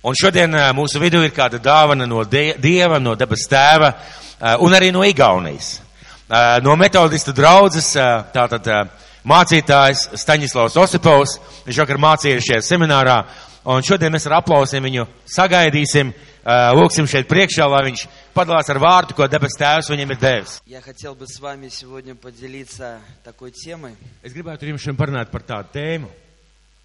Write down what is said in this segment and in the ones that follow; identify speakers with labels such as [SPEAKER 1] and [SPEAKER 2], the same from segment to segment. [SPEAKER 1] Un šodien ā, mūsu vidū ir kāda dāvana no die- Dieva, no debes tēva ā, un arī no Igaunijas. Ā, No metodistu draudzes, ā, tātad ā, mācītājs Staņislavs Osipovs, viņš vakar mācīja šajā seminārā, un šodien mēs ar aplausiem viņu sagaidīsim, ā, lūksim šeit priekšā, lai viņš padalās ar vārtu, ko debes tēvs viņam ir devis.
[SPEAKER 2] Я хотел бы с вами сегодня поделиться такой темой,
[SPEAKER 1] Es gribētu ar jums šodien parunāt par tādu tēmu,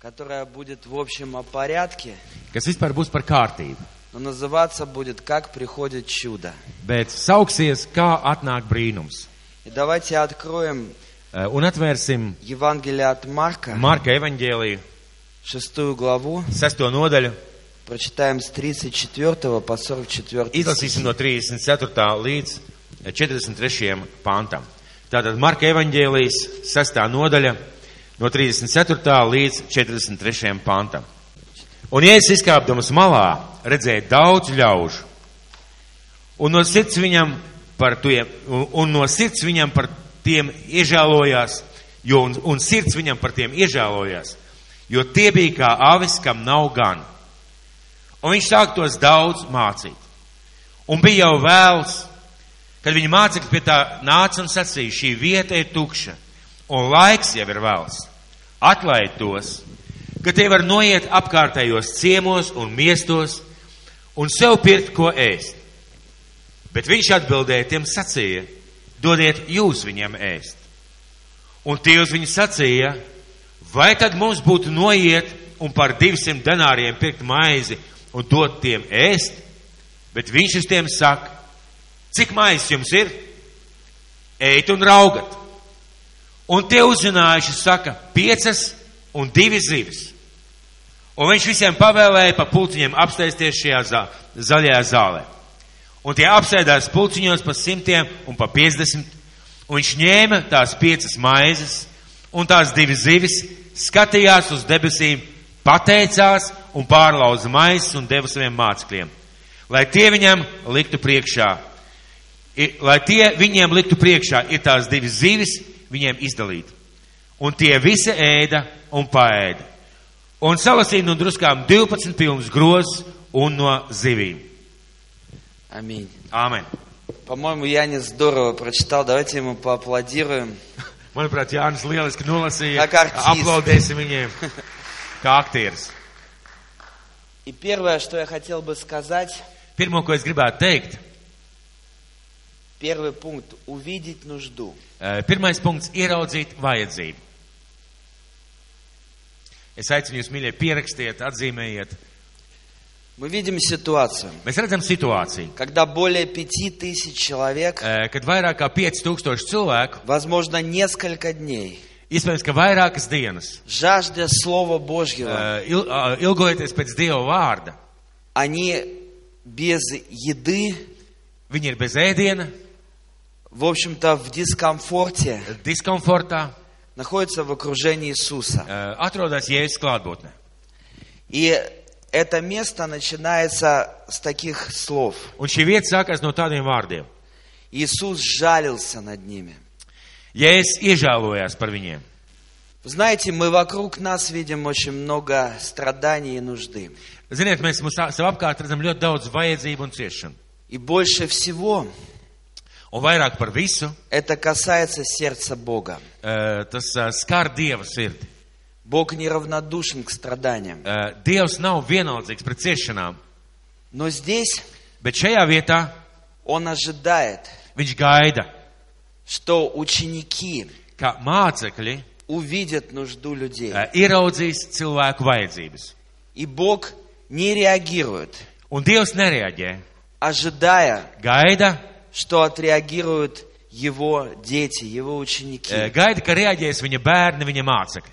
[SPEAKER 2] которая будет в общем о порядке,
[SPEAKER 1] kas vispār būs par kārtību,
[SPEAKER 2] но называться будет «Как приходит чудо».
[SPEAKER 1] bet sauksies, kā atnāk brīnums.
[SPEAKER 2] И давайте откроем
[SPEAKER 1] Ā, Un atvērsim
[SPEAKER 2] Евангелие от Марка,
[SPEAKER 1] Marka evaņģēliju,
[SPEAKER 2] шестую главу,
[SPEAKER 1] sesto nodaļu,
[SPEAKER 2] прочитаем с 34 по 44
[SPEAKER 1] izlasīsim no 34. līdz 43. pantam. Tātad Marka evaņģēlijas sestā nodaļa no 34. līdz 43. pantam. Un, ja es izkāpdamas malā, redzēju daudz ļaužu, un no sirds viņam par, tiem, un no sirds viņam par tiem iežēlojās, jo, un, un sirds viņam par tiem iežēlojās, jo tie bija kā avis, kam nav gan. Un viņš sāk tos daudz mācīt. Un bija jau vēls, kad viņa mācekļi pie tā nāca un sacīja, šī vieta ir tukša, un laiks jau ir vēls. Atlaid tos, ka tie var noiet apkārtējos ciemos un miestos un sev pirkt ko ēst. Bet viņš atbildēja tiem sacīja, dodiet jūs viņiem ēst. Un tie uz viņu sacīja, vai tad mums būtu noiet un par 200 denāriem pirkt maizi un dot tiem ēst? Bet viņš uz tiem saka, cik maizes jums ir? Ejiet un raugat. Un tie uzzinājuši saka, piecas un divi zivis. Un viņš visiem pavēlēja pa pulciņiem apsēsties šajā za zaļajā zālē. Un tie apsēdās pulciņos pa simtiem un pa piecdesmit, un viņš ņēma tās piecas maizes un tās divas zivis, skatījās uz debesīm, pateicās un pārlauza maizes un deva saviem mācekļiem, lai tie viņam liktu priekšā. I- Lai tie viņiem liktu priekšā, ir tās divas zivis, viņiem izdalīt. Un tie visi ēda un paēda. Un salasīja no druskām 12 pilnus grozus un no zivīm.
[SPEAKER 2] Аминь.
[SPEAKER 1] Āmen!
[SPEAKER 2] По-моему, Янис здорово прочитал, давайте ему поаплодируем.
[SPEAKER 1] Manuprāt, Jānis lieliski nolasīja.
[SPEAKER 2] Tā kā artists.
[SPEAKER 1] Aplaudēsim viņiem, kā aktieris.
[SPEAKER 2] И первое, что я хотел бы сказать,
[SPEAKER 1] Pirmo, ko es gribētu teikt,
[SPEAKER 2] первый пункт – увидеть нужду.
[SPEAKER 1] eh, pirmais punkts - ieraudzīt vajadzību. Es aicinu jūs, mīļie, pierakstiet, atzīmējiet.
[SPEAKER 2] Мы видим ситуацию.
[SPEAKER 1] Mēs redzam situāciju,
[SPEAKER 2] когда более пяти тысяч
[SPEAKER 1] eh,
[SPEAKER 2] человек,
[SPEAKER 1] kad vairāk kā 5000 cilvēku,
[SPEAKER 2] возможно, несколько дней,
[SPEAKER 1] iespējams, ka vairākas dienas,
[SPEAKER 2] жаждя Слова Божьего,
[SPEAKER 1] eh, il- eh, ilgojoties pēc Dieva vārda,
[SPEAKER 2] они без еды,
[SPEAKER 1] viņi ir bez ēdiena,
[SPEAKER 2] в общем-то, в дискомфорте,
[SPEAKER 1] diskomfortā,
[SPEAKER 2] находятся в окружении Иисуса.
[SPEAKER 1] eh, atrodas Jēzus klātbūtnē.
[SPEAKER 2] И это место начинается с таких слов.
[SPEAKER 1] Un šī vieta sākās no tādiem vārdiem.
[SPEAKER 2] Иисус жалился над ними.
[SPEAKER 1] Jēzus iežēlojās par viņiem.
[SPEAKER 2] Вы Знаете, мы вокруг нас видим очень много страданий и нужды.
[SPEAKER 1] Ziniet, mēs mums ā- sev apkārt redzam ļoti daudz vajadzību un ciešanu.
[SPEAKER 2] И больше всего
[SPEAKER 1] Un vairāk par visu
[SPEAKER 2] это касается сердца Бога.
[SPEAKER 1] eh, tas eh, skar Dieva sirdi.
[SPEAKER 2] Бог неравнодушен к страданиям.
[SPEAKER 1] Eh, Dievs nav vienaldzīgs pret ciešanām,
[SPEAKER 2] Но здесь
[SPEAKER 1] bet šajā vietā
[SPEAKER 2] он ожидает,
[SPEAKER 1] viņš gaida,
[SPEAKER 2] что ученики
[SPEAKER 1] ka mācekļi
[SPEAKER 2] увидят нужду людей.
[SPEAKER 1] eh, ieraudzīs cilvēku vajadzības.
[SPEAKER 2] И Бог не реагирует,
[SPEAKER 1] Un Dievs nereaģē,
[SPEAKER 2] ожидая,
[SPEAKER 1] gaida,
[SPEAKER 2] что отреагируют его дети, его ученики.
[SPEAKER 1] eh, gaida, ka reaģēs viņa bērni, viņa mācekļi.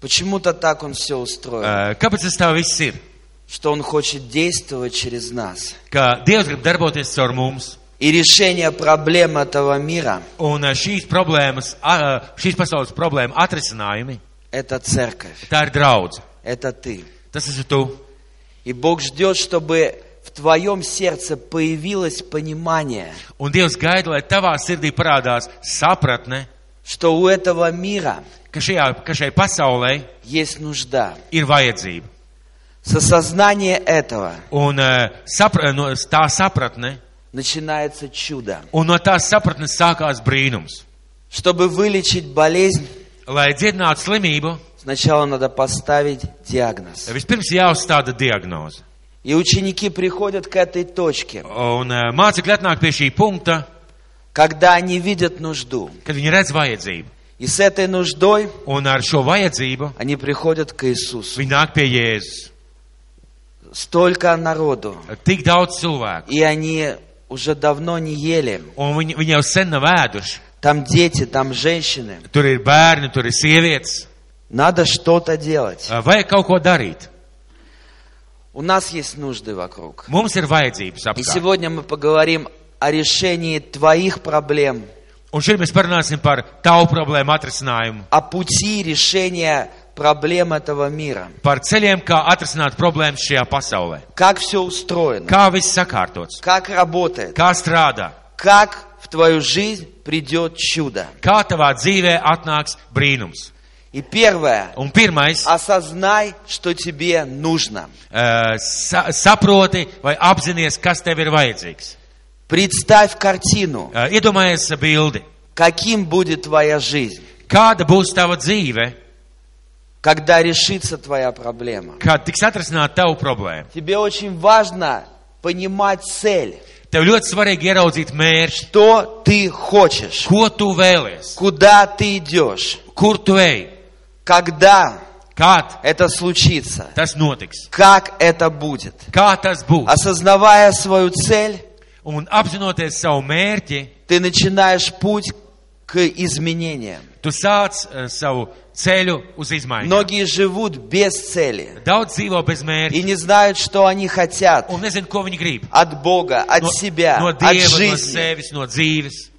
[SPEAKER 2] Почему-то так он все устроил,
[SPEAKER 1] Eh, Kāpēc tas tā viss ir?
[SPEAKER 2] что он хочет действовать через нас.
[SPEAKER 1] Ka Dievs grib darboties caur mums,
[SPEAKER 2] И решение проблем этого мира
[SPEAKER 1] un eh, šīs problēmas, ah, eh, šīs pasaules problēma atrisinājumi,
[SPEAKER 2] – это церковь,
[SPEAKER 1] tā ir draudz.
[SPEAKER 2] это ты.
[SPEAKER 1] Tas esi tu.
[SPEAKER 2] И Бог ждет, чтобы в твоем сердце появилось понимание,
[SPEAKER 1] Un Dievs gaida, lai tavā sirdī parādās sapratne,
[SPEAKER 2] что у этого мира
[SPEAKER 1] ka, šajā, ka šai pasaulē
[SPEAKER 2] есть нужда.
[SPEAKER 1] ir vajadzība.
[SPEAKER 2] С осознания этого
[SPEAKER 1] Un eh, sapra, no tā sapratne,
[SPEAKER 2] начинается чудо.
[SPEAKER 1] un no tās sapratnes sākās brīnums.
[SPEAKER 2] Чтобы вылечить болезнь,
[SPEAKER 1] Lai dziedinātu slimību,
[SPEAKER 2] сначала надо поставить диагноз.
[SPEAKER 1] vispirms jāuzstāda diagnoze.
[SPEAKER 2] И ученики приходят к этой точке,
[SPEAKER 1] Un eh, mācekļi atnāk pie šī punkta,
[SPEAKER 2] когда они видят нужду.
[SPEAKER 1] kad viņi redz vajadzību.
[SPEAKER 2] И с этой нуждой
[SPEAKER 1] Un ar šo vajadzību
[SPEAKER 2] они приходят к Иисусу.
[SPEAKER 1] viņi nāk pie Jēzus.
[SPEAKER 2] Столько народу.
[SPEAKER 1] Tik daudz cilvēku,
[SPEAKER 2] И они уже давно не ели.
[SPEAKER 1] un viņi, viņi jau sen nav ēduši.
[SPEAKER 2] Там дети, там женщины.
[SPEAKER 1] Tur ir bērni, tur ir sievietes.
[SPEAKER 2] Надо что-то делать.
[SPEAKER 1] Eh, Vajag kaut ko darīt.
[SPEAKER 2] У нас есть нужды вокруг.
[SPEAKER 1] Mums ir vajadzības
[SPEAKER 2] И
[SPEAKER 1] apkārt.
[SPEAKER 2] сегодня мы поговорим о решении твоих проблем,
[SPEAKER 1] Un šeit mēs parunāsim par tavu problēmu atrisinājumu,
[SPEAKER 2] о пути решения проблем этого мира.
[SPEAKER 1] par ceļiem, kā atrisināt problēmas šajā pasaulē.
[SPEAKER 2] Как все устроено,
[SPEAKER 1] Kā viss sakārtots,
[SPEAKER 2] как работает,
[SPEAKER 1] kā strādā,
[SPEAKER 2] как в твою жизнь придет чудо.
[SPEAKER 1] kā tavā dzīvē atnāks brīnums.
[SPEAKER 2] И первое,
[SPEAKER 1] Un pirmais,
[SPEAKER 2] осознай, что тебе нужно.
[SPEAKER 1] eh, sa saproti vai apzināties, kas tev ir vajadzīgs.
[SPEAKER 2] Представь картину,
[SPEAKER 1] Eh, Iedomājies bildi,
[SPEAKER 2] каким будет твоя жизнь,
[SPEAKER 1] kāda būs tava dzīve,
[SPEAKER 2] когда решится твоя проблема.
[SPEAKER 1] kad tiks atrisināta tava problēma.
[SPEAKER 2] Тебе очень важно понимать цель,
[SPEAKER 1] Tev ļoti svarīgi ieraudzīt mērķi,
[SPEAKER 2] что ты хочешь,
[SPEAKER 1] ko tu vēlies,
[SPEAKER 2] куда ты идешь,
[SPEAKER 1] kur tu ej,
[SPEAKER 2] когда
[SPEAKER 1] kad
[SPEAKER 2] это случится,
[SPEAKER 1] tas notiks,
[SPEAKER 2] как это будет.
[SPEAKER 1] kā tas būs.
[SPEAKER 2] Осознавая свою цель,
[SPEAKER 1] Un apzinoties savu mērķi,
[SPEAKER 2] ты начинаешь путь к изменениям.
[SPEAKER 1] tu sāc eh, savu ceļu uz izmaiņām.
[SPEAKER 2] Многие живут без цели
[SPEAKER 1] Daudz dzīvo bez mērķa
[SPEAKER 2] и не знают, что они хотят
[SPEAKER 1] un nezinu, ko viņi grib.
[SPEAKER 2] от Бога, от себя,
[SPEAKER 1] no
[SPEAKER 2] от
[SPEAKER 1] dieva, no
[SPEAKER 2] жизни.
[SPEAKER 1] sevis, no dzīves.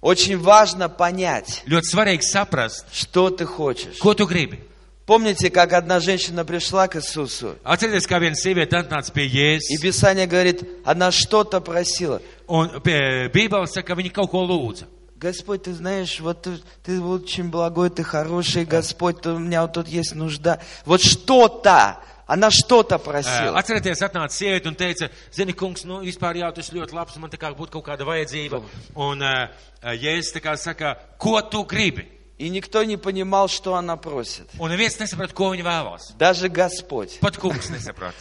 [SPEAKER 2] Очень важно понять,
[SPEAKER 1] Ļoti svarīgi saprast,
[SPEAKER 2] что ты хочешь.
[SPEAKER 1] ko tu gribi.
[SPEAKER 2] Помните, как одна женщina пришла к Иисусу,
[SPEAKER 1] Atcerieties, kā viena sieviete atnāca pie
[SPEAKER 2] и
[SPEAKER 1] Jēzus,
[SPEAKER 2] Писание говорит, она что-то просила.
[SPEAKER 1] un pie- Bībele saka, ka viņa kaut ko lūdza.
[SPEAKER 2] Господь, ты знаешь, вот ты, ты очень благой, ты хороший, Господь, ты- у меня вот тут есть нужда. Вот что-то, она что-то
[SPEAKER 1] Ē,
[SPEAKER 2] просила.
[SPEAKER 1] Atcerieties, atnāca sieviete un teica, zini, kungs, nu, vispār jā, tu esi ļoti labs, man tā kā būtu kaut kāda vajadzība. Un ē, ē, Jēzus tā kā saka, ko tu gribi?
[SPEAKER 2] И никто не понимал, что она просит.
[SPEAKER 1] Un neviens nesaprot, ko viņa vēlās.
[SPEAKER 2] Даже Господь.
[SPEAKER 1] Pat kungs nesaprot.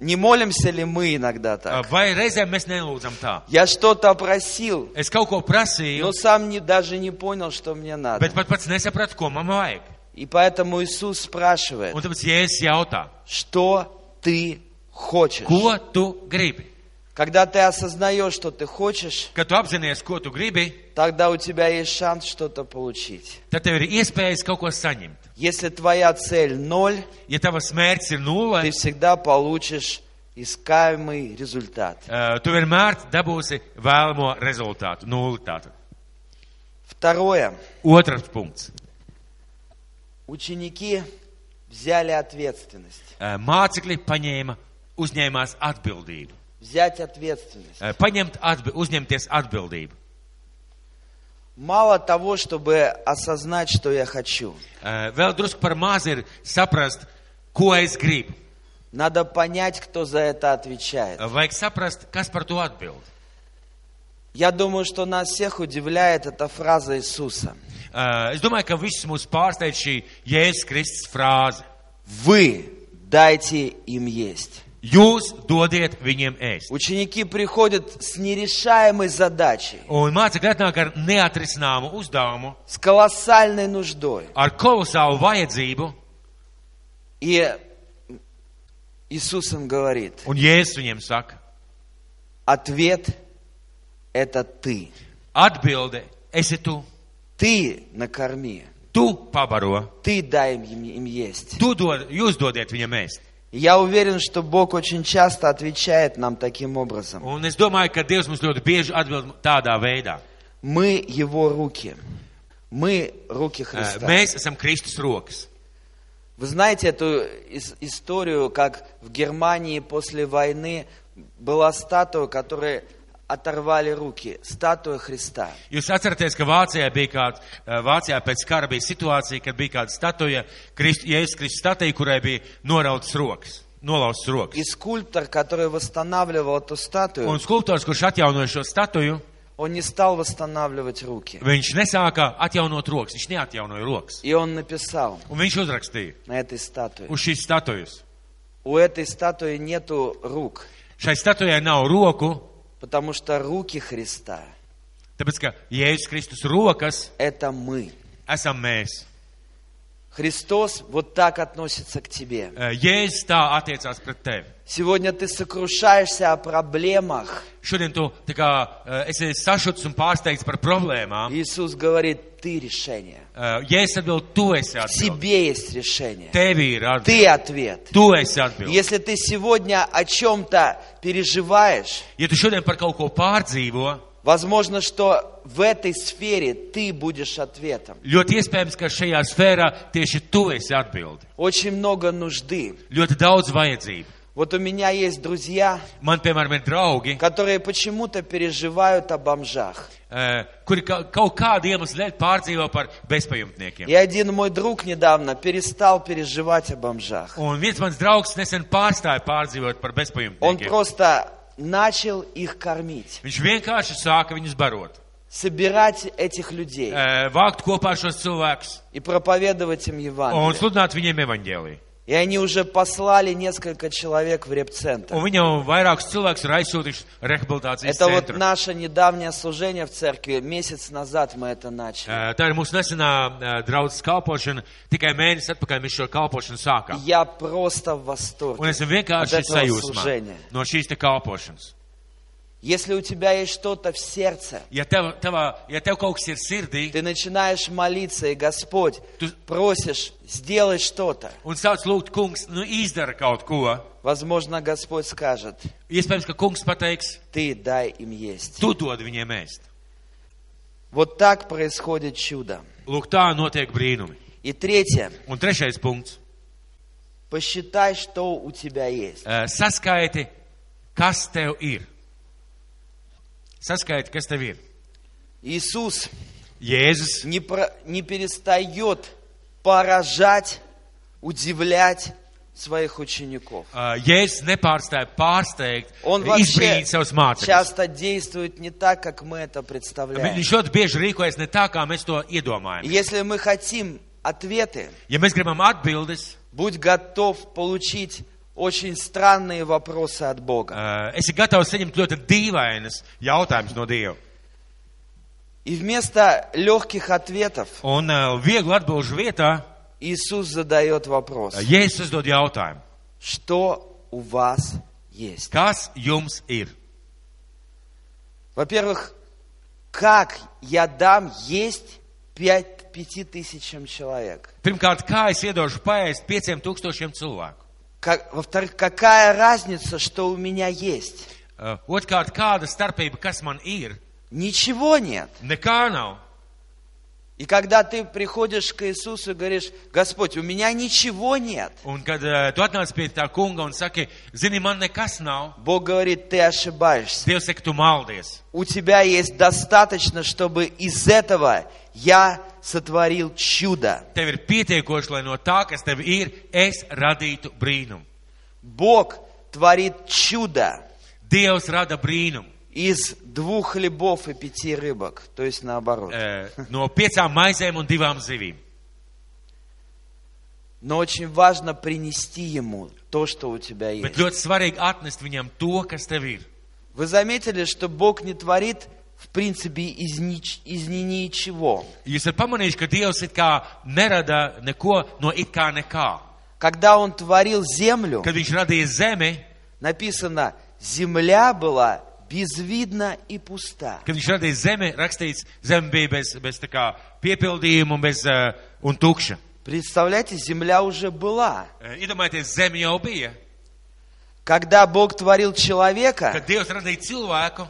[SPEAKER 2] Не молимся ли мы иногда
[SPEAKER 1] Ā,
[SPEAKER 2] так?
[SPEAKER 1] Vai reizēm mēs nelūdzam tā?
[SPEAKER 2] Я что-то просил,
[SPEAKER 1] Es kaut ko prasīju,
[SPEAKER 2] но сам не, даже не понял, что мне надо.
[SPEAKER 1] bet pat pats nesapratu, ko man vajag.
[SPEAKER 2] И поэтому Иисус спрашивает,
[SPEAKER 1] Un tāpēc Jēzus jautā,
[SPEAKER 2] что ты хочешь?
[SPEAKER 1] ko tu gribi?
[SPEAKER 2] Когда ты осознаешь, что ты хочешь,
[SPEAKER 1] Kad tu apzinājies, ko tu gribi,
[SPEAKER 2] тогда у тебя есть шанс что-то получить.
[SPEAKER 1] tad tev ir iespējas kaut ko saņemt.
[SPEAKER 2] Если твоя цель ноль,
[SPEAKER 1] Ja tavs mērķis ir nulle,
[SPEAKER 2] ты всегда получишь искаемый результат.
[SPEAKER 1] ā, tu vienmēr dabūsi vēlamo rezultātu. Nulli tātad.
[SPEAKER 2] Второе.
[SPEAKER 1] Otrs punkts.
[SPEAKER 2] Ученики взяли ответственность.
[SPEAKER 1] Ā, Eh, Mācekļi paņēma, uzņēmās atbildību.
[SPEAKER 2] Взять ответственность.
[SPEAKER 1] Ā, Paņemt atbi uzņemties atbildību.
[SPEAKER 2] Мало того, чтобы осознать, что я хочу.
[SPEAKER 1] Ā, Eh, Vēl drusku par maz ir saprast, ko es gribu. Eh,
[SPEAKER 2] Надо понять, кто за это отвечает.
[SPEAKER 1] Vajag saprast, kas par to atbild.
[SPEAKER 2] Я думаю, что нас всех удивляет эта фраза Иисуса.
[SPEAKER 1] Uh, es domāju, ka visus mūs pārsteidz šī Jēzus Kristus frāze.
[SPEAKER 2] Вы дайте им есть.
[SPEAKER 1] Jūs dodiet viņiem ēst.
[SPEAKER 2] Ученики приходят с нерешаемой задачей,
[SPEAKER 1] Un mācekļi atnāk ar neatrisināmu uzdevumu,
[SPEAKER 2] с колоссальной нуждой.
[SPEAKER 1] ar kolosālu vajadzību,
[SPEAKER 2] И Иисус им говорит,
[SPEAKER 1] un Jēzus viņiem saka,
[SPEAKER 2] ответ – это ты.
[SPEAKER 1] atbilde, esi tu,
[SPEAKER 2] Ты накорми,
[SPEAKER 1] tu pabaro,
[SPEAKER 2] ты дай им, им есть.
[SPEAKER 1] tu dod, jūs dodiet viņiem ēst.
[SPEAKER 2] И Я уверен, что Бог очень часто отвечает нам таким образом.
[SPEAKER 1] Un es domāju, ka Dievs mums ļoti bieži atbild tādā veidā.
[SPEAKER 2] Мы Его руки. Мы руки
[SPEAKER 1] Uh,
[SPEAKER 2] Христа.
[SPEAKER 1] mēs esam Kristus rokas.
[SPEAKER 2] Вы знаете эту ис- историю, как в Германии после войны была статуя, которой оторвали руки. Статуя Христа.
[SPEAKER 1] Jūs atceraties, ka Vācijā bija kāda, Vācijā pēc kara bija situācija, kad bija kāda statuja, Krist, Jēzus Kristus statuja, kurai bija norautas rokas. nolauztas rokas.
[SPEAKER 2] И скульптор, который восстанавливал эту статую,
[SPEAKER 1] Un skulptors, kurš atjaunoja šo statuju,
[SPEAKER 2] он не стал восстанавливать руки.
[SPEAKER 1] viņš nesāka atjaunot rokas, viņš neatjaunoja rokas.
[SPEAKER 2] И он написал
[SPEAKER 1] Un viņš uzrakstīja
[SPEAKER 2] на этой статуе.
[SPEAKER 1] uz šīs statujas.
[SPEAKER 2] У этой статуи нету рук,
[SPEAKER 1] Šai statujai nav roku,
[SPEAKER 2] потому что руки Христа
[SPEAKER 1] tāpēc ka Jēzus Kristus rokas
[SPEAKER 2] – это мы.
[SPEAKER 1] esam mēs.
[SPEAKER 2] Христос вот так относится к тебе.
[SPEAKER 1] Eh, Jēzus tā attiecās pret tevi.
[SPEAKER 2] Сегодня ты сокрушаешься о проблемах.
[SPEAKER 1] Šodien tu tā kā eh, esi sašuts un pārsteigts par problēmām.
[SPEAKER 2] Иисус говорит, ты решение.
[SPEAKER 1] Eh, Jēzus atbild, tu esi
[SPEAKER 2] В
[SPEAKER 1] atbildīgs.
[SPEAKER 2] тебе есть решение.
[SPEAKER 1] Tevi ir atbildīgs.
[SPEAKER 2] Ты ответ.
[SPEAKER 1] Tu esi atbildīgs.
[SPEAKER 2] Если ты сегодня о чем-то переживаешь,
[SPEAKER 1] Ja tu šodien par kaut ko pārdzīvo,
[SPEAKER 2] возможно, что в этой сфере ты будешь ответом.
[SPEAKER 1] ļoti iespējams, ka šajā sfērā tieši tu esi atbildīgs.
[SPEAKER 2] Очень много нужды.
[SPEAKER 1] Ļoti daudz vajadzību.
[SPEAKER 2] Вот у меня есть друзья,
[SPEAKER 1] Man, piemēram, ir draugi,
[SPEAKER 2] которые почему-то переживают о бомжах.
[SPEAKER 1] eh, kuri ka- kaut kādu iemeslu dēļ pārdzīvo par bezpajumtniekiem.
[SPEAKER 2] И один мой друг недавно перестал переживать о бомжах.
[SPEAKER 1] Un viens mans draugs nesen pārstāja pārdzīvot par
[SPEAKER 2] Он
[SPEAKER 1] bezpajumtniekiem.
[SPEAKER 2] просто начал их кормить,
[SPEAKER 1] Viņš vienkārši sāka viņus barot.
[SPEAKER 2] собирать этих людей
[SPEAKER 1] eh, vākt kopā šos cilvēkus
[SPEAKER 2] и проповедовать им
[SPEAKER 1] un
[SPEAKER 2] Евангелие.
[SPEAKER 1] sludināt viņiem evaņģēlīju.
[SPEAKER 2] И они уже послали несколько человек в репцентр.
[SPEAKER 1] Un viņi jau vairākus cilvēkus ir aizsūtījuši rehabilitācijas
[SPEAKER 2] Это вот
[SPEAKER 1] centrā.
[SPEAKER 2] наше недавнее служение в церкви. Месяц назад мы это начали.
[SPEAKER 1] Tā ir mūsu nesenā draudzes kalpošana. Tikai mēnesi atpakaļ mēs šo kalpošanu
[SPEAKER 2] И
[SPEAKER 1] sākām.
[SPEAKER 2] Я просто в
[SPEAKER 1] Un
[SPEAKER 2] восторге.
[SPEAKER 1] esam vienkārši
[SPEAKER 2] Tāpēc vēl
[SPEAKER 1] sajūsmā
[SPEAKER 2] slūženie.
[SPEAKER 1] no šīs te kalpošanas.
[SPEAKER 2] Если у тебя есть что-то в сердце,
[SPEAKER 1] Ja tev, tavā, ja tev kaut kas ir sirdī
[SPEAKER 2] ты начинаешь молиться, и Господь
[SPEAKER 1] Tu-
[SPEAKER 2] просишь, сделай что-то.
[SPEAKER 1] un sāc lūgt, kungs, nu izdara kaut ko,
[SPEAKER 2] Возможно, Господь скажет,
[SPEAKER 1] iespējams, ka kungs pateiks,
[SPEAKER 2] ты дай им есть.
[SPEAKER 1] tu dod viņiem ēst.
[SPEAKER 2] Вот так происходит чудо.
[SPEAKER 1] Lūk, tā notiek brīnumi.
[SPEAKER 2] И третье.
[SPEAKER 1] Un trešais punkts.
[SPEAKER 2] Посчитай, что у тебя есть.
[SPEAKER 1] Eh, saskaiti, kas tev ir. Saskaiti, kas tev ir.
[SPEAKER 2] Иисус
[SPEAKER 1] Jēzus
[SPEAKER 2] не, про- не перестает поражать, удивлять своих учеников.
[SPEAKER 1] eh, Jēzus nepārstāja pārsteigt,
[SPEAKER 2] Он вообще
[SPEAKER 1] izbrīnīt savus mācekļus.
[SPEAKER 2] часто действует не так, как мы это
[SPEAKER 1] Vi-
[SPEAKER 2] представляем.
[SPEAKER 1] Viņš ļoti bieži rīkojas ne tā, kā mēs to
[SPEAKER 2] И
[SPEAKER 1] iedomājamies.
[SPEAKER 2] Если мы хотим ответы,
[SPEAKER 1] Ja mēs gribam atbildes,
[SPEAKER 2] будь готов получить очень странные vопросы от Бога.
[SPEAKER 1] eh, es esmu gatavs saņemt ļoti dīvainas jautājumus no Dieva.
[SPEAKER 2] И вместо легких ответов
[SPEAKER 1] Un eh, viegli atbilžu vietā
[SPEAKER 2] Иисус задает вопрос.
[SPEAKER 1] eh, Jēzus uzdod jautājumu.
[SPEAKER 2] Что у вас есть?
[SPEAKER 1] Kas jums ir?
[SPEAKER 2] Во-первых, как я дам есть пять, пяти тысячам человек?
[SPEAKER 1] Pirmkārt, kā es iedošu paēst pieciem tūkstošiem cilvēku?
[SPEAKER 2] Как- во-вторых, какая разница, что у меня есть?
[SPEAKER 1] Uh, Otrkārt, kāda starpība, kas man ir,
[SPEAKER 2] Ничего нет.
[SPEAKER 1] nekā nav.
[SPEAKER 2] И когда ты приходишь к Иисусу и говоришь, Господь, у меня ничего нет.
[SPEAKER 1] Un kad uh, tu atnāc pie tā kunga un saki, zini, man nekas nav,
[SPEAKER 2] Бог говорит, ты ошибаешься.
[SPEAKER 1] Dievs saka, tu maldies.
[SPEAKER 2] У тебя есть достаточно, чтобы из этого я сотворил чудо.
[SPEAKER 1] Tev ir pietiekoši, lai no tā, kas tev ir, es radītu brīnumu.
[SPEAKER 2] Бог творит чудо.
[SPEAKER 1] Dievs rada brīnumu
[SPEAKER 2] из двух хлебов и пяти рыбок, то есть наоборот.
[SPEAKER 1] uh, no piecām maizēm un divām zivīm.
[SPEAKER 2] Но очень важно принести ему то, что у тебя
[SPEAKER 1] Bet
[SPEAKER 2] есть.
[SPEAKER 1] ļoti svarīgi atnest viņam to, kas tev ir.
[SPEAKER 2] Вы заметили, что Бог не творит, в принципе, из, нич- из ни- ничего.
[SPEAKER 1] Jūs esat pamanījuši, ka Dievs it kā nerada neko no it kā nekā.
[SPEAKER 2] Когда Он творил землю,
[SPEAKER 1] Kad viņš radīja zemi,
[SPEAKER 2] написано, земля была безвидна и пуста.
[SPEAKER 1] Kad viņš radīja zemi, rakstīts, zeme bija bez, bez tā kā piepildījuma un, bez, uh, un tukša.
[SPEAKER 2] Представляете, земля уже была.
[SPEAKER 1] Eh, Iedomājieties, zeme jau bija.
[SPEAKER 2] Когда Бог творил
[SPEAKER 1] Kad
[SPEAKER 2] человека,
[SPEAKER 1] Dievs radīja cilvēku,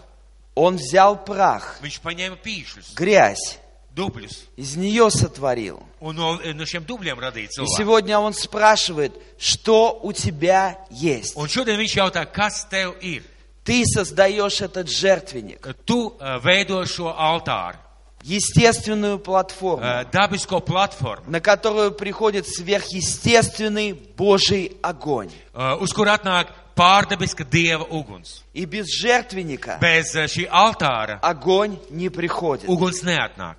[SPEAKER 2] Он взял прах,
[SPEAKER 1] viņš paņēma pīšļus,
[SPEAKER 2] грязь,
[SPEAKER 1] dubļus
[SPEAKER 2] из нее сотворил.
[SPEAKER 1] un no, no šiem dubļiem radīja
[SPEAKER 2] И
[SPEAKER 1] cilvēku.
[SPEAKER 2] сегодня он спрашивает, что у тебя есть.
[SPEAKER 1] Un šodien viņš jautā, kas tev ir?
[SPEAKER 2] Ты создаешь этот жертвенник.
[SPEAKER 1] Tu uh, veido šo altāru.
[SPEAKER 2] естественную платформу,
[SPEAKER 1] eh, dabisko platformu,
[SPEAKER 2] на которую приходит сверхъестественный Божий огонь.
[SPEAKER 1] eh, uz kur atnāk pārdabiska dieva uguns.
[SPEAKER 2] И без жертвенника
[SPEAKER 1] Bez eh, šī altāra
[SPEAKER 2] огонь не приходит.
[SPEAKER 1] uguns neatnāk.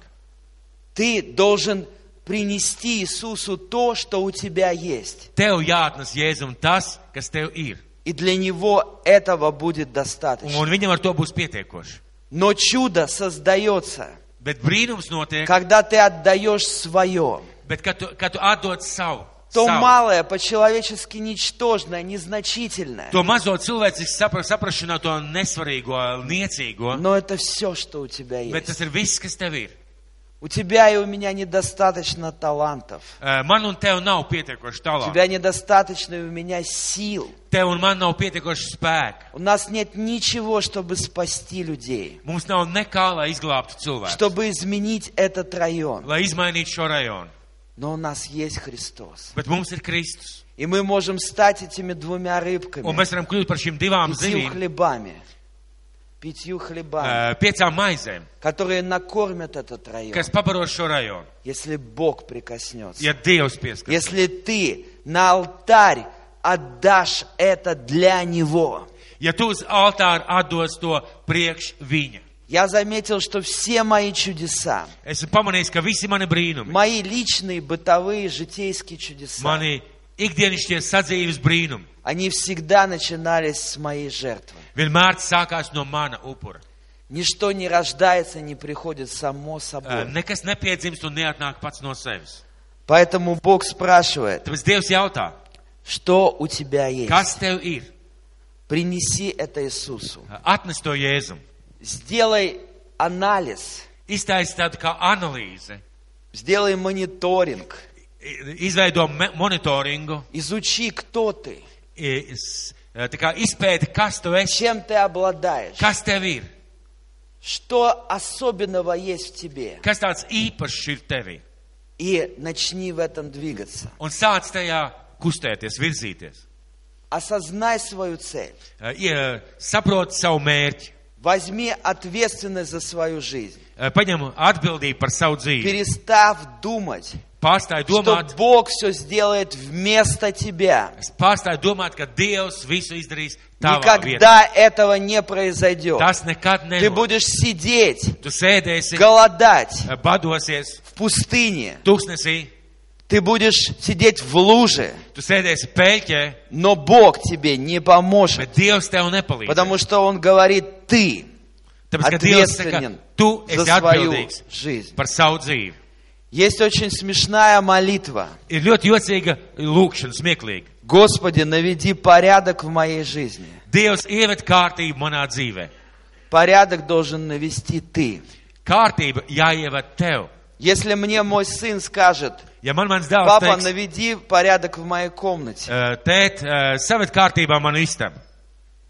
[SPEAKER 2] Ты должен принести Иисусу то, что у тебя есть.
[SPEAKER 1] Tev jāatnes Jēzum tas, kas tev ir.
[SPEAKER 2] И для Него этого будет достаточно.
[SPEAKER 1] Un viņam ar to būs pietiekoši.
[SPEAKER 2] Но чудо создается,
[SPEAKER 1] Bet brīnums notiek,
[SPEAKER 2] когда ты отдаешь свое.
[SPEAKER 1] bet kad tu, kad tu atdod savu.
[SPEAKER 2] То
[SPEAKER 1] savu.
[SPEAKER 2] малое, по-человечески ничтожное, незначительное.
[SPEAKER 1] To mazo cilvēcisku sapra, saprašanā, to nesvarīgo, niecīgo,
[SPEAKER 2] Но это все, что у тебя
[SPEAKER 1] bet
[SPEAKER 2] есть.
[SPEAKER 1] tas ir viss, kas tev ir.
[SPEAKER 2] У тебя и у меня недостаточно талантов.
[SPEAKER 1] Eh, Man un tev nav pietiekoši
[SPEAKER 2] У
[SPEAKER 1] talanti.
[SPEAKER 2] тебя недостаточно и у меня сил.
[SPEAKER 1] Tev un man nav pietiekoši spēki.
[SPEAKER 2] У нас нет ничего, чтобы спасти людей.
[SPEAKER 1] Mums nav nekā, lai izglābtu cilvēku,
[SPEAKER 2] Чтобы изменить этот район.
[SPEAKER 1] lai izmainītu šo rajonu.
[SPEAKER 2] Но у нас есть Христос.
[SPEAKER 1] Bet mums ir Kristus.
[SPEAKER 2] И мы можем стать этими двумя
[SPEAKER 1] Un
[SPEAKER 2] рыбками.
[SPEAKER 1] mēs varam kļūt par šīm divām eh,
[SPEAKER 2] Пятью
[SPEAKER 1] zivīm,
[SPEAKER 2] хлебами. Pятью хлебами.
[SPEAKER 1] eh, piecām maizēm,
[SPEAKER 2] Которые накормят этот район.
[SPEAKER 1] kas pabaros šo rajonu.
[SPEAKER 2] Если Бог прикоснется.
[SPEAKER 1] Ja Dievs pieskat,
[SPEAKER 2] Если ты на алтарь отдашь это для Него.
[SPEAKER 1] ja tu uz altāra atdos to priekš viņa.
[SPEAKER 2] Я заметил, что все мои чудеса,
[SPEAKER 1] Esmu pamanījis, ka visi mani brīnumi,
[SPEAKER 2] мои личные, бытовые, житейские чудеса,
[SPEAKER 1] mani ikdienišķie sadzīves brīnumi,
[SPEAKER 2] они всегда начинались с моей жертвы.
[SPEAKER 1] vienmēr sākās no mana upura.
[SPEAKER 2] Ничто не рождается, не приходит само
[SPEAKER 1] Eh,
[SPEAKER 2] собой.
[SPEAKER 1] Nekas nepiedzimst un neatnāk pats no sevis.
[SPEAKER 2] Поэтому Бог спрашивает,
[SPEAKER 1] Tāpēc Dievs jautā,
[SPEAKER 2] что у тебя есть?
[SPEAKER 1] kas tev ir?
[SPEAKER 2] Принеси это Иисусу.
[SPEAKER 1] Atnes to Jēzum.
[SPEAKER 2] Сделай анализ,
[SPEAKER 1] Iztaisa tādu kā analīzi,
[SPEAKER 2] сделай мониторинг,
[SPEAKER 1] i- izveido me- monitoringu,
[SPEAKER 2] изучи, кто ты,
[SPEAKER 1] i- s- eh, tā kā izpēti, kas tu esi,
[SPEAKER 2] чем ты обладаешь,
[SPEAKER 1] kas tev ir,
[SPEAKER 2] что особенного есть в тебе.
[SPEAKER 1] kas tāds īpašs ir tevī.
[SPEAKER 2] И начни в этом двигаться.
[SPEAKER 1] Un sāc tajā kustēties, virzīties.
[SPEAKER 2] Осознай свою цель.
[SPEAKER 1] Eh, ie- Saprot savu mērķi,
[SPEAKER 2] Возьми ответственность за свою жизnь,
[SPEAKER 1] eh, paņem atbildību par savu dzīvi,
[SPEAKER 2] перестав думать,
[SPEAKER 1] pārstāj domāt,
[SPEAKER 2] что Бог все сделает вместо тебя.
[SPEAKER 1] pārstāj domāt, ka Dievs visu izdarīs tavā vietā.
[SPEAKER 2] Никогда этого не произойдет.
[SPEAKER 1] Tas nekad
[SPEAKER 2] Ты
[SPEAKER 1] nebūs.
[SPEAKER 2] будешь сидеть,
[SPEAKER 1] Tu sēdēsi, eh,
[SPEAKER 2] голодать
[SPEAKER 1] badosies,
[SPEAKER 2] в пустыне.
[SPEAKER 1] tūkstnesī,
[SPEAKER 2] Ты будешь сидеть в луже,
[SPEAKER 1] tu sēdēsi pēķē,
[SPEAKER 2] но Бог тебе не поможет,
[SPEAKER 1] bet Dievs tev nepalīdz.
[SPEAKER 2] потому что Он говорит, ты
[SPEAKER 1] Tāpēc, ka Dievs saka,
[SPEAKER 2] ответственен
[SPEAKER 1] tu
[SPEAKER 2] за
[SPEAKER 1] esi
[SPEAKER 2] свою
[SPEAKER 1] atbildīgs
[SPEAKER 2] жизнь.
[SPEAKER 1] par savu dzīvi.
[SPEAKER 2] Есть очень смешная молитва.
[SPEAKER 1] Ir ļoti jocīga lūkšana, smieklīga.
[SPEAKER 2] Господи, наведи порядок в моей жизни.
[SPEAKER 1] Dievs ieved kārtību manā dzīvē.
[SPEAKER 2] Порядок должен навести ты.
[SPEAKER 1] Kārtība jāieved tev.
[SPEAKER 2] Если мне мой сын скажет,
[SPEAKER 1] Ja man mans dēls
[SPEAKER 2] папа,
[SPEAKER 1] teiks,
[SPEAKER 2] наведи порядок в моей комнате,
[SPEAKER 1] "Eh, tēt, eh, saved kārtībā manu istabu.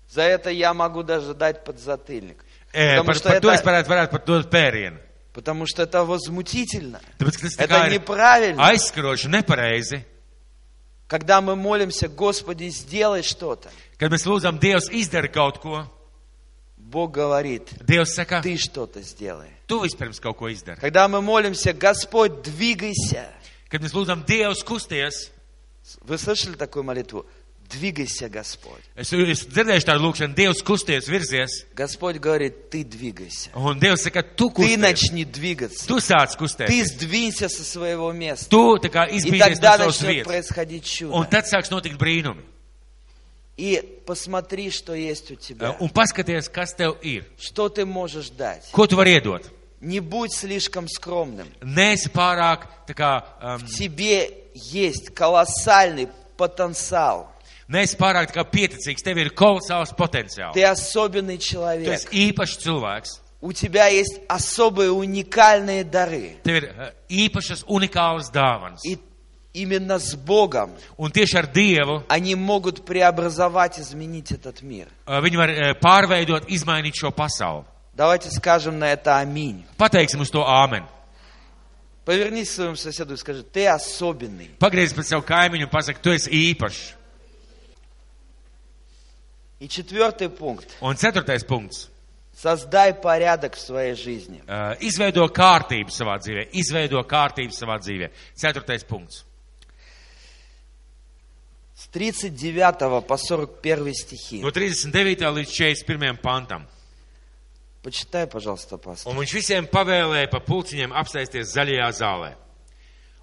[SPEAKER 2] за это я могу даже дать подзатыльник.
[SPEAKER 1] Eh,
[SPEAKER 2] Потому
[SPEAKER 1] Par,
[SPEAKER 2] что
[SPEAKER 1] par to es
[SPEAKER 2] это,
[SPEAKER 1] varētu, varētu pat dot pērienu.
[SPEAKER 2] потому что это возмутительно.
[SPEAKER 1] Tāpēc, ka tas tā
[SPEAKER 2] Это
[SPEAKER 1] kā ir
[SPEAKER 2] неправильно.
[SPEAKER 1] aizskaroši, nepareizi.
[SPEAKER 2] Когда мы молимся, Господи, сделай что-то.
[SPEAKER 1] Kad mēs lūdzam, Dievs izdara kaut ko,
[SPEAKER 2] Бог говорит,
[SPEAKER 1] Dievs saka,
[SPEAKER 2] ты что-то сделай.
[SPEAKER 1] tu vispirms kaut ko izdari.
[SPEAKER 2] Когда мы молимся, Господь, двигайся.
[SPEAKER 1] Kad mēs lūdzam, Dievs kusties,
[SPEAKER 2] Вы слышали такую молитву? Двигайся, Господь.
[SPEAKER 1] es, es dzirdēju tādu lūkšanu, Dievs kusties, virzies.
[SPEAKER 2] Господь говорит, ты двигайся.
[SPEAKER 1] Un Dievs saka, tu
[SPEAKER 2] Ты
[SPEAKER 1] kusties.
[SPEAKER 2] начни двигаться.
[SPEAKER 1] Tu sāc kustēties.
[SPEAKER 2] Ты сдвинься со своего места.
[SPEAKER 1] Tu tā kā
[SPEAKER 2] И
[SPEAKER 1] izbīdies no
[SPEAKER 2] тогда
[SPEAKER 1] savas
[SPEAKER 2] начнет
[SPEAKER 1] vietas.
[SPEAKER 2] происходить
[SPEAKER 1] Un
[SPEAKER 2] чудо.
[SPEAKER 1] tad sāks notikt brīnumi.
[SPEAKER 2] И посмотри, что есть у тебя.
[SPEAKER 1] Un paskaties, kas tev ir.
[SPEAKER 2] Что ты можешь дать.
[SPEAKER 1] Ko tu vari iedot?
[SPEAKER 2] Не будь слишком скромным.
[SPEAKER 1] Nēsi pārāk, tā kā, um,
[SPEAKER 2] В тебе есть колоссальный потенциал.
[SPEAKER 1] nēsi pārāk tā kā pieticīgs. Tev ir kolosāls potenciāls.
[SPEAKER 2] Ты особенный
[SPEAKER 1] Tu
[SPEAKER 2] человек.
[SPEAKER 1] esi īpašs cilvēks.
[SPEAKER 2] У тебя есть особые уникальные дары.
[SPEAKER 1] Tev ir uh, īpašas, unikālas dāvanas.
[SPEAKER 2] И именно с Богом
[SPEAKER 1] Un tieši ar Dievu uh,
[SPEAKER 2] они могут преобразовать, изменить этот мир.
[SPEAKER 1] viņi var uh, pārveidot, izmainīt šo pasauli.
[SPEAKER 2] Давайте скажем на это аминь.
[SPEAKER 1] Pateiksim uz to āmeni.
[SPEAKER 2] Повернись к своему соседу и скажи, ты особенный.
[SPEAKER 1] Pagriez pret savu kaimiņu un pasaki, tu esi īpašs.
[SPEAKER 2] И четвертый пункт.
[SPEAKER 1] Un ceturtais punkts.
[SPEAKER 2] Создай порядок в своей жизни.
[SPEAKER 1] Uh, Izveido kārtību savā dzīvē, izveido kārtību savā dzīvē. Ceturtais punkts.
[SPEAKER 2] С 39 по 41 стихи.
[SPEAKER 1] No 39. līdz 41. pantam.
[SPEAKER 2] Почитай, пожалуйста, пастор.
[SPEAKER 1] Un viņš visiem pavēlēja pa pulciņiem apsēsties zaļajā zālē.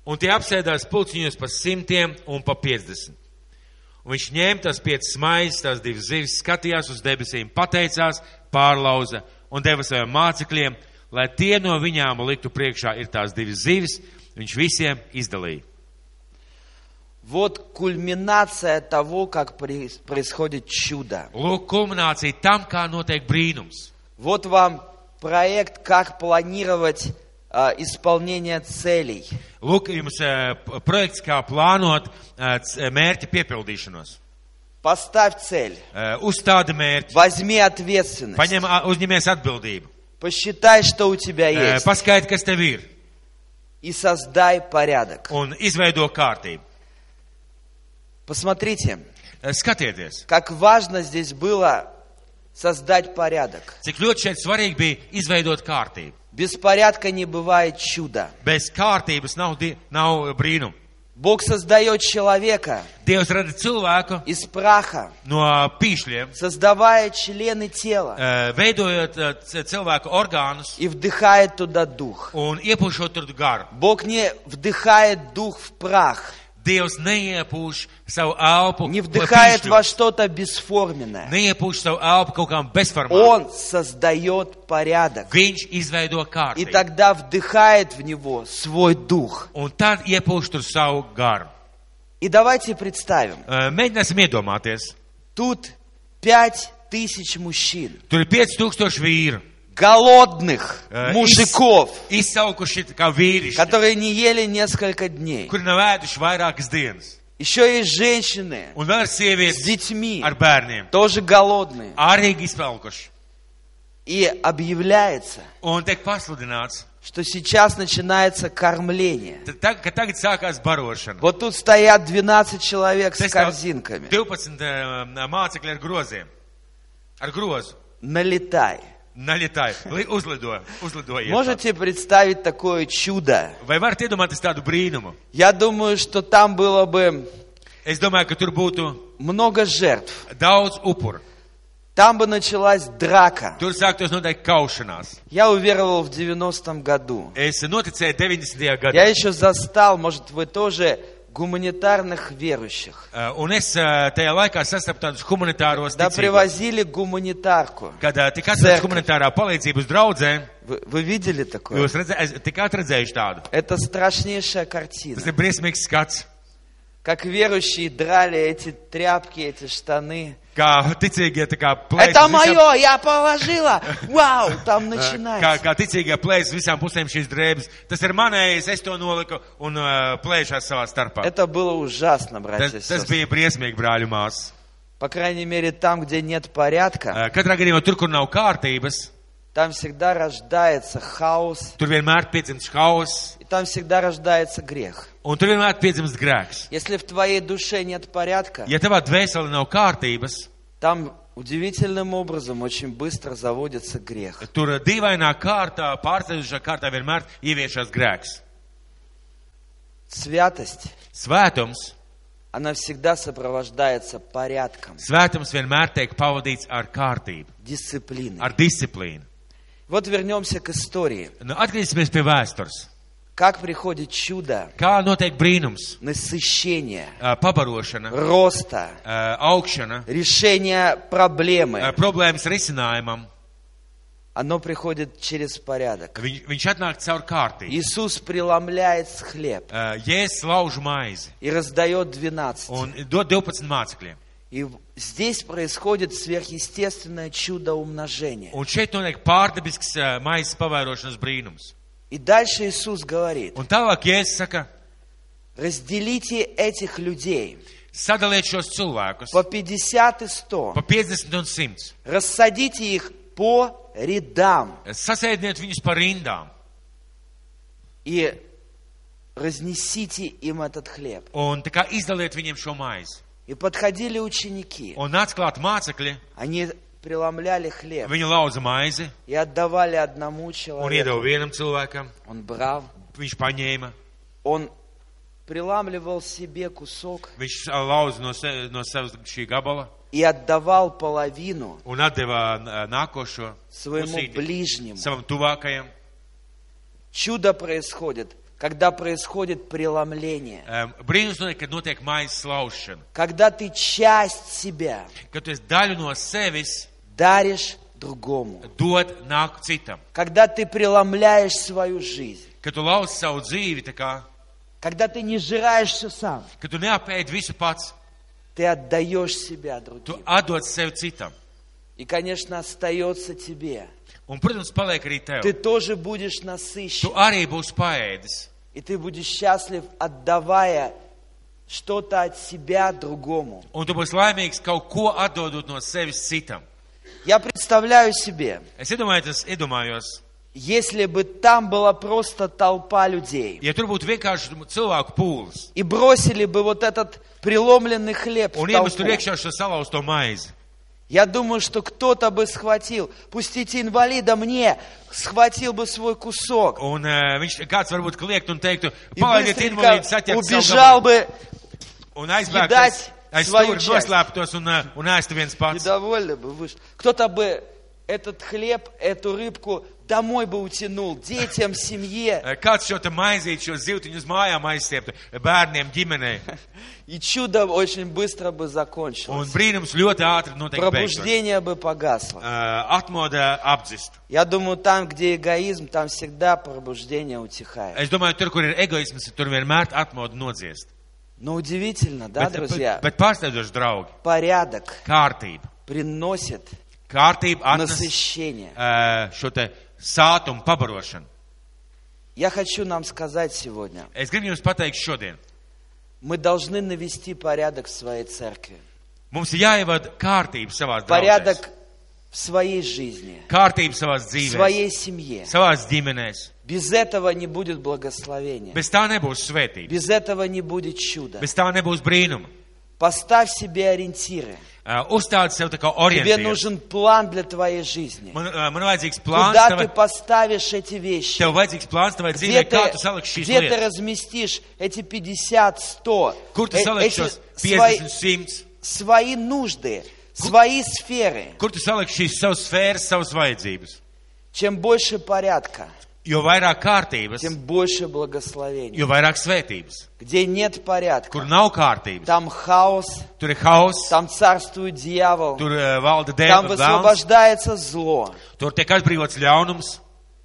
[SPEAKER 1] Un tie apsēdās pulciņos pa simtiem un pa piecdesmit. Un viņš ņēma tās piecas maizes, tās divas zivis, skatījās uz debesīm, pateicās, pārlauza un deva saviem mācekļiem, lai tie no viņām liktu priekšā ir tās divas zivis, viņš visiem izdalīja.
[SPEAKER 2] Вот кульминация того, как при- происходит чудо.
[SPEAKER 1] Lūk, kulminācija tam, kā notiek brīnums.
[SPEAKER 2] Вот вам проект, как планировать а, исполнение целей.
[SPEAKER 1] Lūk, jums eh, p- projekts, kā plānot eh, c- mērķa piepildīšanos.
[SPEAKER 2] Поставь цель,
[SPEAKER 1] Eh, Uzstādi mērķi,
[SPEAKER 2] возьми ответственность,
[SPEAKER 1] paņem, a- uzņemies atbildību,
[SPEAKER 2] посчитай, что у тебя
[SPEAKER 1] Eh,
[SPEAKER 2] есть,
[SPEAKER 1] paskaidro, kas tev ir,
[SPEAKER 2] и создай порядок.
[SPEAKER 1] un izveido kārtību.
[SPEAKER 2] Посмотрите,
[SPEAKER 1] Eh, Skatieties,
[SPEAKER 2] как важно здесь было создать порядок.
[SPEAKER 1] cik ļoti šeit svarīgi bija izveidot kārtību.
[SPEAKER 2] Без порядка не бывает чуда.
[SPEAKER 1] Bez kārtības nav, di- nav brīnuma.
[SPEAKER 2] Бог создает человека
[SPEAKER 1] Dievs rada cilvēku
[SPEAKER 2] из праха,
[SPEAKER 1] no pīšļiem,
[SPEAKER 2] создавая члены тела
[SPEAKER 1] eh, veidojot eh, c- cilvēku orgānus
[SPEAKER 2] и вдыхает туда дух.
[SPEAKER 1] un iepūšot tur garu.
[SPEAKER 2] Бог не вдыхает дух в прах,
[SPEAKER 1] Dievs neiepūš savu elpu,
[SPEAKER 2] не
[SPEAKER 1] ko
[SPEAKER 2] вдыхает
[SPEAKER 1] pīšļos.
[SPEAKER 2] во что-то бесформенное.
[SPEAKER 1] neiepūš savu elpu kaut kādam bezformātam.
[SPEAKER 2] Он создает порядок.
[SPEAKER 1] Viņš izveido
[SPEAKER 2] И
[SPEAKER 1] kārtību.
[SPEAKER 2] тогда вдыхает в него свой дух.
[SPEAKER 1] Un tad iepūš tur savu garu.
[SPEAKER 2] И давайте представим,
[SPEAKER 1] Eh, Mēģināsim iedomāties.
[SPEAKER 2] тут пять тысяч мужчин,
[SPEAKER 1] Tur ir 5000 vīru.
[SPEAKER 2] голодных
[SPEAKER 1] eh,
[SPEAKER 2] мужиков,
[SPEAKER 1] iz- Izsaukuši kā vīrišķi,
[SPEAKER 2] которые не ели несколько дней.
[SPEAKER 1] kuri nav ēduši vairākas dienas.
[SPEAKER 2] Еще есть женщины
[SPEAKER 1] Un vēl ir
[SPEAKER 2] с
[SPEAKER 1] sievietes
[SPEAKER 2] детьми,
[SPEAKER 1] ar bērniem.
[SPEAKER 2] тоже голодные.
[SPEAKER 1] Arī izsaukuši.
[SPEAKER 2] И объявляется,
[SPEAKER 1] Un tiek pasludināts,
[SPEAKER 2] что сейчас начинается кормление.
[SPEAKER 1] ta- ta- ka tagad sākās barošana.
[SPEAKER 2] Вот тут стоят 12 человек с
[SPEAKER 1] Te stāv
[SPEAKER 2] корзинками.
[SPEAKER 1] 12 eh, mācekļi ar groziem. Ar grozu.
[SPEAKER 2] Налетай.
[SPEAKER 1] Naļitāji. Li- Uzlido. Uzlidojiet.
[SPEAKER 2] Можете представить такое чудо?
[SPEAKER 1] Vai varat iedomāties tādu brīnumu?
[SPEAKER 2] Я думаю, что там было бы
[SPEAKER 1] Es domāju, ka tur būtu
[SPEAKER 2] много жертв.
[SPEAKER 1] daudz upuru.
[SPEAKER 2] Там бы началась драка.
[SPEAKER 1] Tur sāktos noteikti kaušanās.
[SPEAKER 2] Я уверовал в 90-м году.
[SPEAKER 1] Es noticēju 90. gadā,
[SPEAKER 2] Я еще застал, может, вы тоже, гуманитарных верующих.
[SPEAKER 1] uh, un es uh, tajā laikā sastapu tādus humanitāros
[SPEAKER 2] Да,
[SPEAKER 1] ticīgos,
[SPEAKER 2] привозили гуманитарку.
[SPEAKER 1] kad uh, tika atradzēta
[SPEAKER 2] Cerkvi.
[SPEAKER 1] humanitārā palīdzība uz draudzēm.
[SPEAKER 2] Вы, вы видели такое?
[SPEAKER 1] Jūs redzē, es tik atradzējuši tādu.
[SPEAKER 2] Это страшнейшая картина.
[SPEAKER 1] Tas ir briesmīgs skats,
[SPEAKER 2] Как верующие драли эти тряпки, эти штаны.
[SPEAKER 1] kā ticīgie tā kā plēs.
[SPEAKER 2] Это
[SPEAKER 1] uz visām-
[SPEAKER 2] мое, я положила. Вау, там
[SPEAKER 1] uh, Kā,
[SPEAKER 2] начинается.
[SPEAKER 1] kā ticīgie plēs uz visām pusēm šīs drēbes. Tas ir manējais, es to noliku un uh, plēšās savā starpā.
[SPEAKER 2] Это было ужасно, братья и
[SPEAKER 1] Tas, tas
[SPEAKER 2] сестры.
[SPEAKER 1] bija briesmīgi, brāļu mās.
[SPEAKER 2] По крайней мере, там, где нет порядка,
[SPEAKER 1] Uh, katrā gadījumā tur, kur nav kārtības,
[SPEAKER 2] там всегда rождается хаос,
[SPEAKER 1] Tur vienmēr piedzimst hauss,
[SPEAKER 2] и там всегда rождается грех.
[SPEAKER 1] un tur vienmēr piedzimst grēks.
[SPEAKER 2] Если в твоей душе нет порядка,
[SPEAKER 1] Ja tavā dvēselē nav kārtības,
[SPEAKER 2] там удивительным образом очень быстро заводится грех.
[SPEAKER 1] tur dīvainā kārtā, pārsteidzošā kārtā vienmēr ieviešās grēks.
[SPEAKER 2] Святость,
[SPEAKER 1] Svētums,
[SPEAKER 2] она всегда сопровождается порядком,
[SPEAKER 1] svētums vienmēr tiek pavadīts ar kārtību,
[SPEAKER 2] дисциплиной.
[SPEAKER 1] ar disciplīnu.
[SPEAKER 2] Вот вернемся к истории.
[SPEAKER 1] Nu, atgriezīsimies pie vēstures.
[SPEAKER 2] Как приходит чудо,
[SPEAKER 1] Kā notiek brīnums,
[SPEAKER 2] насыщение,
[SPEAKER 1] Ā, pabarošana,
[SPEAKER 2] роста,
[SPEAKER 1] ā, augšana,
[SPEAKER 2] решение
[SPEAKER 1] ā,
[SPEAKER 2] проблемы,
[SPEAKER 1] problēmas risinājumam,
[SPEAKER 2] оно приходит через порядок.
[SPEAKER 1] viņ, viņš atnāk caur kārtību.
[SPEAKER 2] Иисус преломляет хлеб
[SPEAKER 1] Ā, Jēzus lauž maizi
[SPEAKER 2] и раздает 12.
[SPEAKER 1] un dod 12 mācekļiem.
[SPEAKER 2] И в- здесь происходит сверхъестественное чудо умножения.
[SPEAKER 1] Un šeit notiek pārdabisks ā, maizes pavērošanas brīnums.
[SPEAKER 2] И дальше Иисус говорит,
[SPEAKER 1] Un tālāk Jēzus saka,
[SPEAKER 2] разделите этих людей
[SPEAKER 1] sadaliet šos cilvēkus
[SPEAKER 2] по 50 и 100,
[SPEAKER 1] pa 50 un 100.
[SPEAKER 2] рассадите их по рядам
[SPEAKER 1] Sasēdiniet viņus pa rindām
[SPEAKER 2] и разнесите им этот хлеб.
[SPEAKER 1] un tā kā izdaliet viņiem šo maizi.
[SPEAKER 2] И подходили ученики.
[SPEAKER 1] Un atklāt mācekļi,
[SPEAKER 2] Они преломляли хлеб
[SPEAKER 1] Viņi lauza maizi
[SPEAKER 2] и отдавали одному
[SPEAKER 1] un
[SPEAKER 2] человеку.
[SPEAKER 1] iedeva vienam cilvēkam,
[SPEAKER 2] Он брал,
[SPEAKER 1] viņš paņēma,
[SPEAKER 2] он приламливал себе кусок
[SPEAKER 1] viņš ā, lauza no, se, no savas šī gabala
[SPEAKER 2] и отдавал половину
[SPEAKER 1] un atdeva ā, nākošo
[SPEAKER 2] своему
[SPEAKER 1] pusīti
[SPEAKER 2] ближнему.
[SPEAKER 1] savam tuvākajam.
[SPEAKER 2] Чудо происходит, когда происходит преломление.
[SPEAKER 1] Ēm, E, Brīnums notiek, kad notiek maizes laušana,
[SPEAKER 2] Когда ты часть себя
[SPEAKER 1] kad tu esi daļu no sevis
[SPEAKER 2] даришь другому.
[SPEAKER 1] dod nāk citam,
[SPEAKER 2] Когда ты преломляешь свою жизнь.
[SPEAKER 1] kad tu lauzi savu dzīvi, tā kā,
[SPEAKER 2] Когда ты не жираешься сам.
[SPEAKER 1] kad tu neapēd visu pats,
[SPEAKER 2] Ты отдаешь себя
[SPEAKER 1] tu
[SPEAKER 2] другим.
[SPEAKER 1] atdod sevi citam.
[SPEAKER 2] И, конечно, остается тебе.
[SPEAKER 1] Un, protams, paliek arī tev.
[SPEAKER 2] Ты тоже будешь
[SPEAKER 1] Tu
[SPEAKER 2] насыщен.
[SPEAKER 1] arī būsi paēdis.
[SPEAKER 2] И ты будешь счастлив, отдавая что-то от себя другому.
[SPEAKER 1] Un tu būsi laimīgs kaut ko atdodot no sevis citam.
[SPEAKER 2] Я представляю себе,
[SPEAKER 1] Es iedomājos, iedomājos
[SPEAKER 2] если бы там была просто толпа людей,
[SPEAKER 1] ja tur būtu vienkārši cilvēku pūlis
[SPEAKER 2] и бросили бы вот этот преломленный хлеб в
[SPEAKER 1] un iemest tur
[SPEAKER 2] толпу.
[SPEAKER 1] iekšā šo salauzto maizi,
[SPEAKER 2] Я думаю, что кто-то бы схватил, пустите инвалида мне, схватил бы свой кусок
[SPEAKER 1] un uh, viņš kāds varbūt kliegt un teiktu,
[SPEAKER 2] и
[SPEAKER 1] palaidiet
[SPEAKER 2] быстренько
[SPEAKER 1] invalīdu, saķert
[SPEAKER 2] убежал
[SPEAKER 1] savu
[SPEAKER 2] бы.
[SPEAKER 1] gabalu." un aizbēgt
[SPEAKER 2] Iedāt
[SPEAKER 1] aiz, aiz
[SPEAKER 2] svoju
[SPEAKER 1] stūri,
[SPEAKER 2] čest.
[SPEAKER 1] noslēptos un, uh, un ēstu viens pats.
[SPEAKER 2] Недовольны бы вышел. Кто-то бы этот хлеб, эту рыбку домой бы утянул, детям, семье.
[SPEAKER 1] Ē, E, Kāds šo te maizīti, šo zivtiņu uz mājām aizstieptu bērniem, ģimenei,
[SPEAKER 2] И чудо очень быстро бы
[SPEAKER 1] un
[SPEAKER 2] закончилось.
[SPEAKER 1] brīnums ļoti ātri noteikti beigtos.
[SPEAKER 2] Пробуждение бы погасло.
[SPEAKER 1] Ā, Atmoda apdzist.
[SPEAKER 2] Я думаю, там, где эгоизм, там всегда пробуждение утихает.
[SPEAKER 1] Es domāju, tur, kur ir egoisms, tur vienmēr atmodu nodziest.
[SPEAKER 2] Но удивительно, да,
[SPEAKER 1] Bet,
[SPEAKER 2] друзья?
[SPEAKER 1] bet, bet pārsteidzoši, draugi,
[SPEAKER 2] Порядок
[SPEAKER 1] kārtība.
[SPEAKER 2] приносит
[SPEAKER 1] Kārtība
[SPEAKER 2] Nu,
[SPEAKER 1] atnes
[SPEAKER 2] насыщение.
[SPEAKER 1] ā, šo te sātumu pabarošanu.
[SPEAKER 2] Я хочу нам сказать сегодня,
[SPEAKER 1] Es gribu jums pateikt šodien.
[SPEAKER 2] мы должны навести порядок в своей церкви.
[SPEAKER 1] Mums ir jāievada kārtība savā dzīvē.
[SPEAKER 2] Порядок в своей жизни,
[SPEAKER 1] Kārtība savā
[SPEAKER 2] в
[SPEAKER 1] dzīvē,
[SPEAKER 2] своей семье.
[SPEAKER 1] savā ģimenē.
[SPEAKER 2] Bez этого не будет благословения.
[SPEAKER 1] Bez tā nebūs svētība,
[SPEAKER 2] Без этого не будет чуда.
[SPEAKER 1] bez tā nebūs brīnuma.
[SPEAKER 2] Поставь себе ориентиры.
[SPEAKER 1] Ā, Uzstādi sev tā kā
[SPEAKER 2] Тебе
[SPEAKER 1] orientēties.
[SPEAKER 2] нужен план для твоей жизни.
[SPEAKER 1] Man, ā, man vajadzīgs plāns,
[SPEAKER 2] Куда ты
[SPEAKER 1] tavai,
[SPEAKER 2] поставишь эти вещи?
[SPEAKER 1] tev vajadzīgs plāns tavai
[SPEAKER 2] Где
[SPEAKER 1] dzīvē,
[SPEAKER 2] ты,
[SPEAKER 1] kā tu saliksi šīs
[SPEAKER 2] где ты
[SPEAKER 1] lietas.
[SPEAKER 2] разместишь эти 50, 100,
[SPEAKER 1] Kur tu
[SPEAKER 2] э-
[SPEAKER 1] saliksi
[SPEAKER 2] эти
[SPEAKER 1] šos
[SPEAKER 2] свои,
[SPEAKER 1] 50, 100?
[SPEAKER 2] свои нужды, свои сферы?
[SPEAKER 1] Kur tu saliksi šīs savas sfēras, savas vajadzības?
[SPEAKER 2] Чем больше порядка,
[SPEAKER 1] Jo vairāk kārtības,
[SPEAKER 2] тем больше благословения.
[SPEAKER 1] jo vairāk svētības.
[SPEAKER 2] Где нет порядка,
[SPEAKER 1] Kur nav kārtības,
[SPEAKER 2] там хаос,
[SPEAKER 1] tur ir hauss,
[SPEAKER 2] там царствует дьявол,
[SPEAKER 1] tur ā, valda
[SPEAKER 2] там
[SPEAKER 1] dēmons, vēlms,
[SPEAKER 2] высвобождается зло,
[SPEAKER 1] tur tiek atbrīvots ļaunums,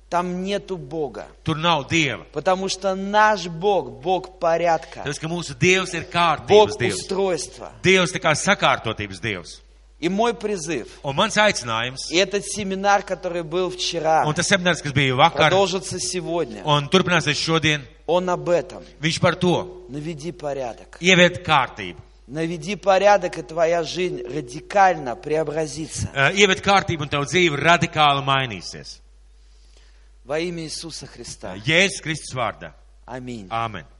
[SPEAKER 2] там нету Бога.
[SPEAKER 1] tur nav dieva.
[SPEAKER 2] Потому что наш Бог, Бог порядка,
[SPEAKER 1] Tāpēc, ka mūsu dievs ir
[SPEAKER 2] Бог
[SPEAKER 1] kārtības dievs.
[SPEAKER 2] устройства.
[SPEAKER 1] Dievs ir kā sakārtotības dievs.
[SPEAKER 2] И мой призыв,
[SPEAKER 1] Un mans aicinājums,
[SPEAKER 2] и этот семинар, который был вчера,
[SPEAKER 1] un tas seminārs, kas bija vakar,
[SPEAKER 2] продолжится сегодня,
[SPEAKER 1] un turpināsies šodien,
[SPEAKER 2] он об этом.
[SPEAKER 1] viņš par to
[SPEAKER 2] Наведи порядок.
[SPEAKER 1] ieviet kārtību.
[SPEAKER 2] Наведи порядок, и твоя жизнь радикально преобразится.
[SPEAKER 1] Ē, Eh, Ieviet kārtību, un tev dzīve radikāli mainīsies.
[SPEAKER 2] Во имя Иисуса Христа.
[SPEAKER 1] Jēzus Kristus vārdā.
[SPEAKER 2] Аминь.
[SPEAKER 1] Āmen!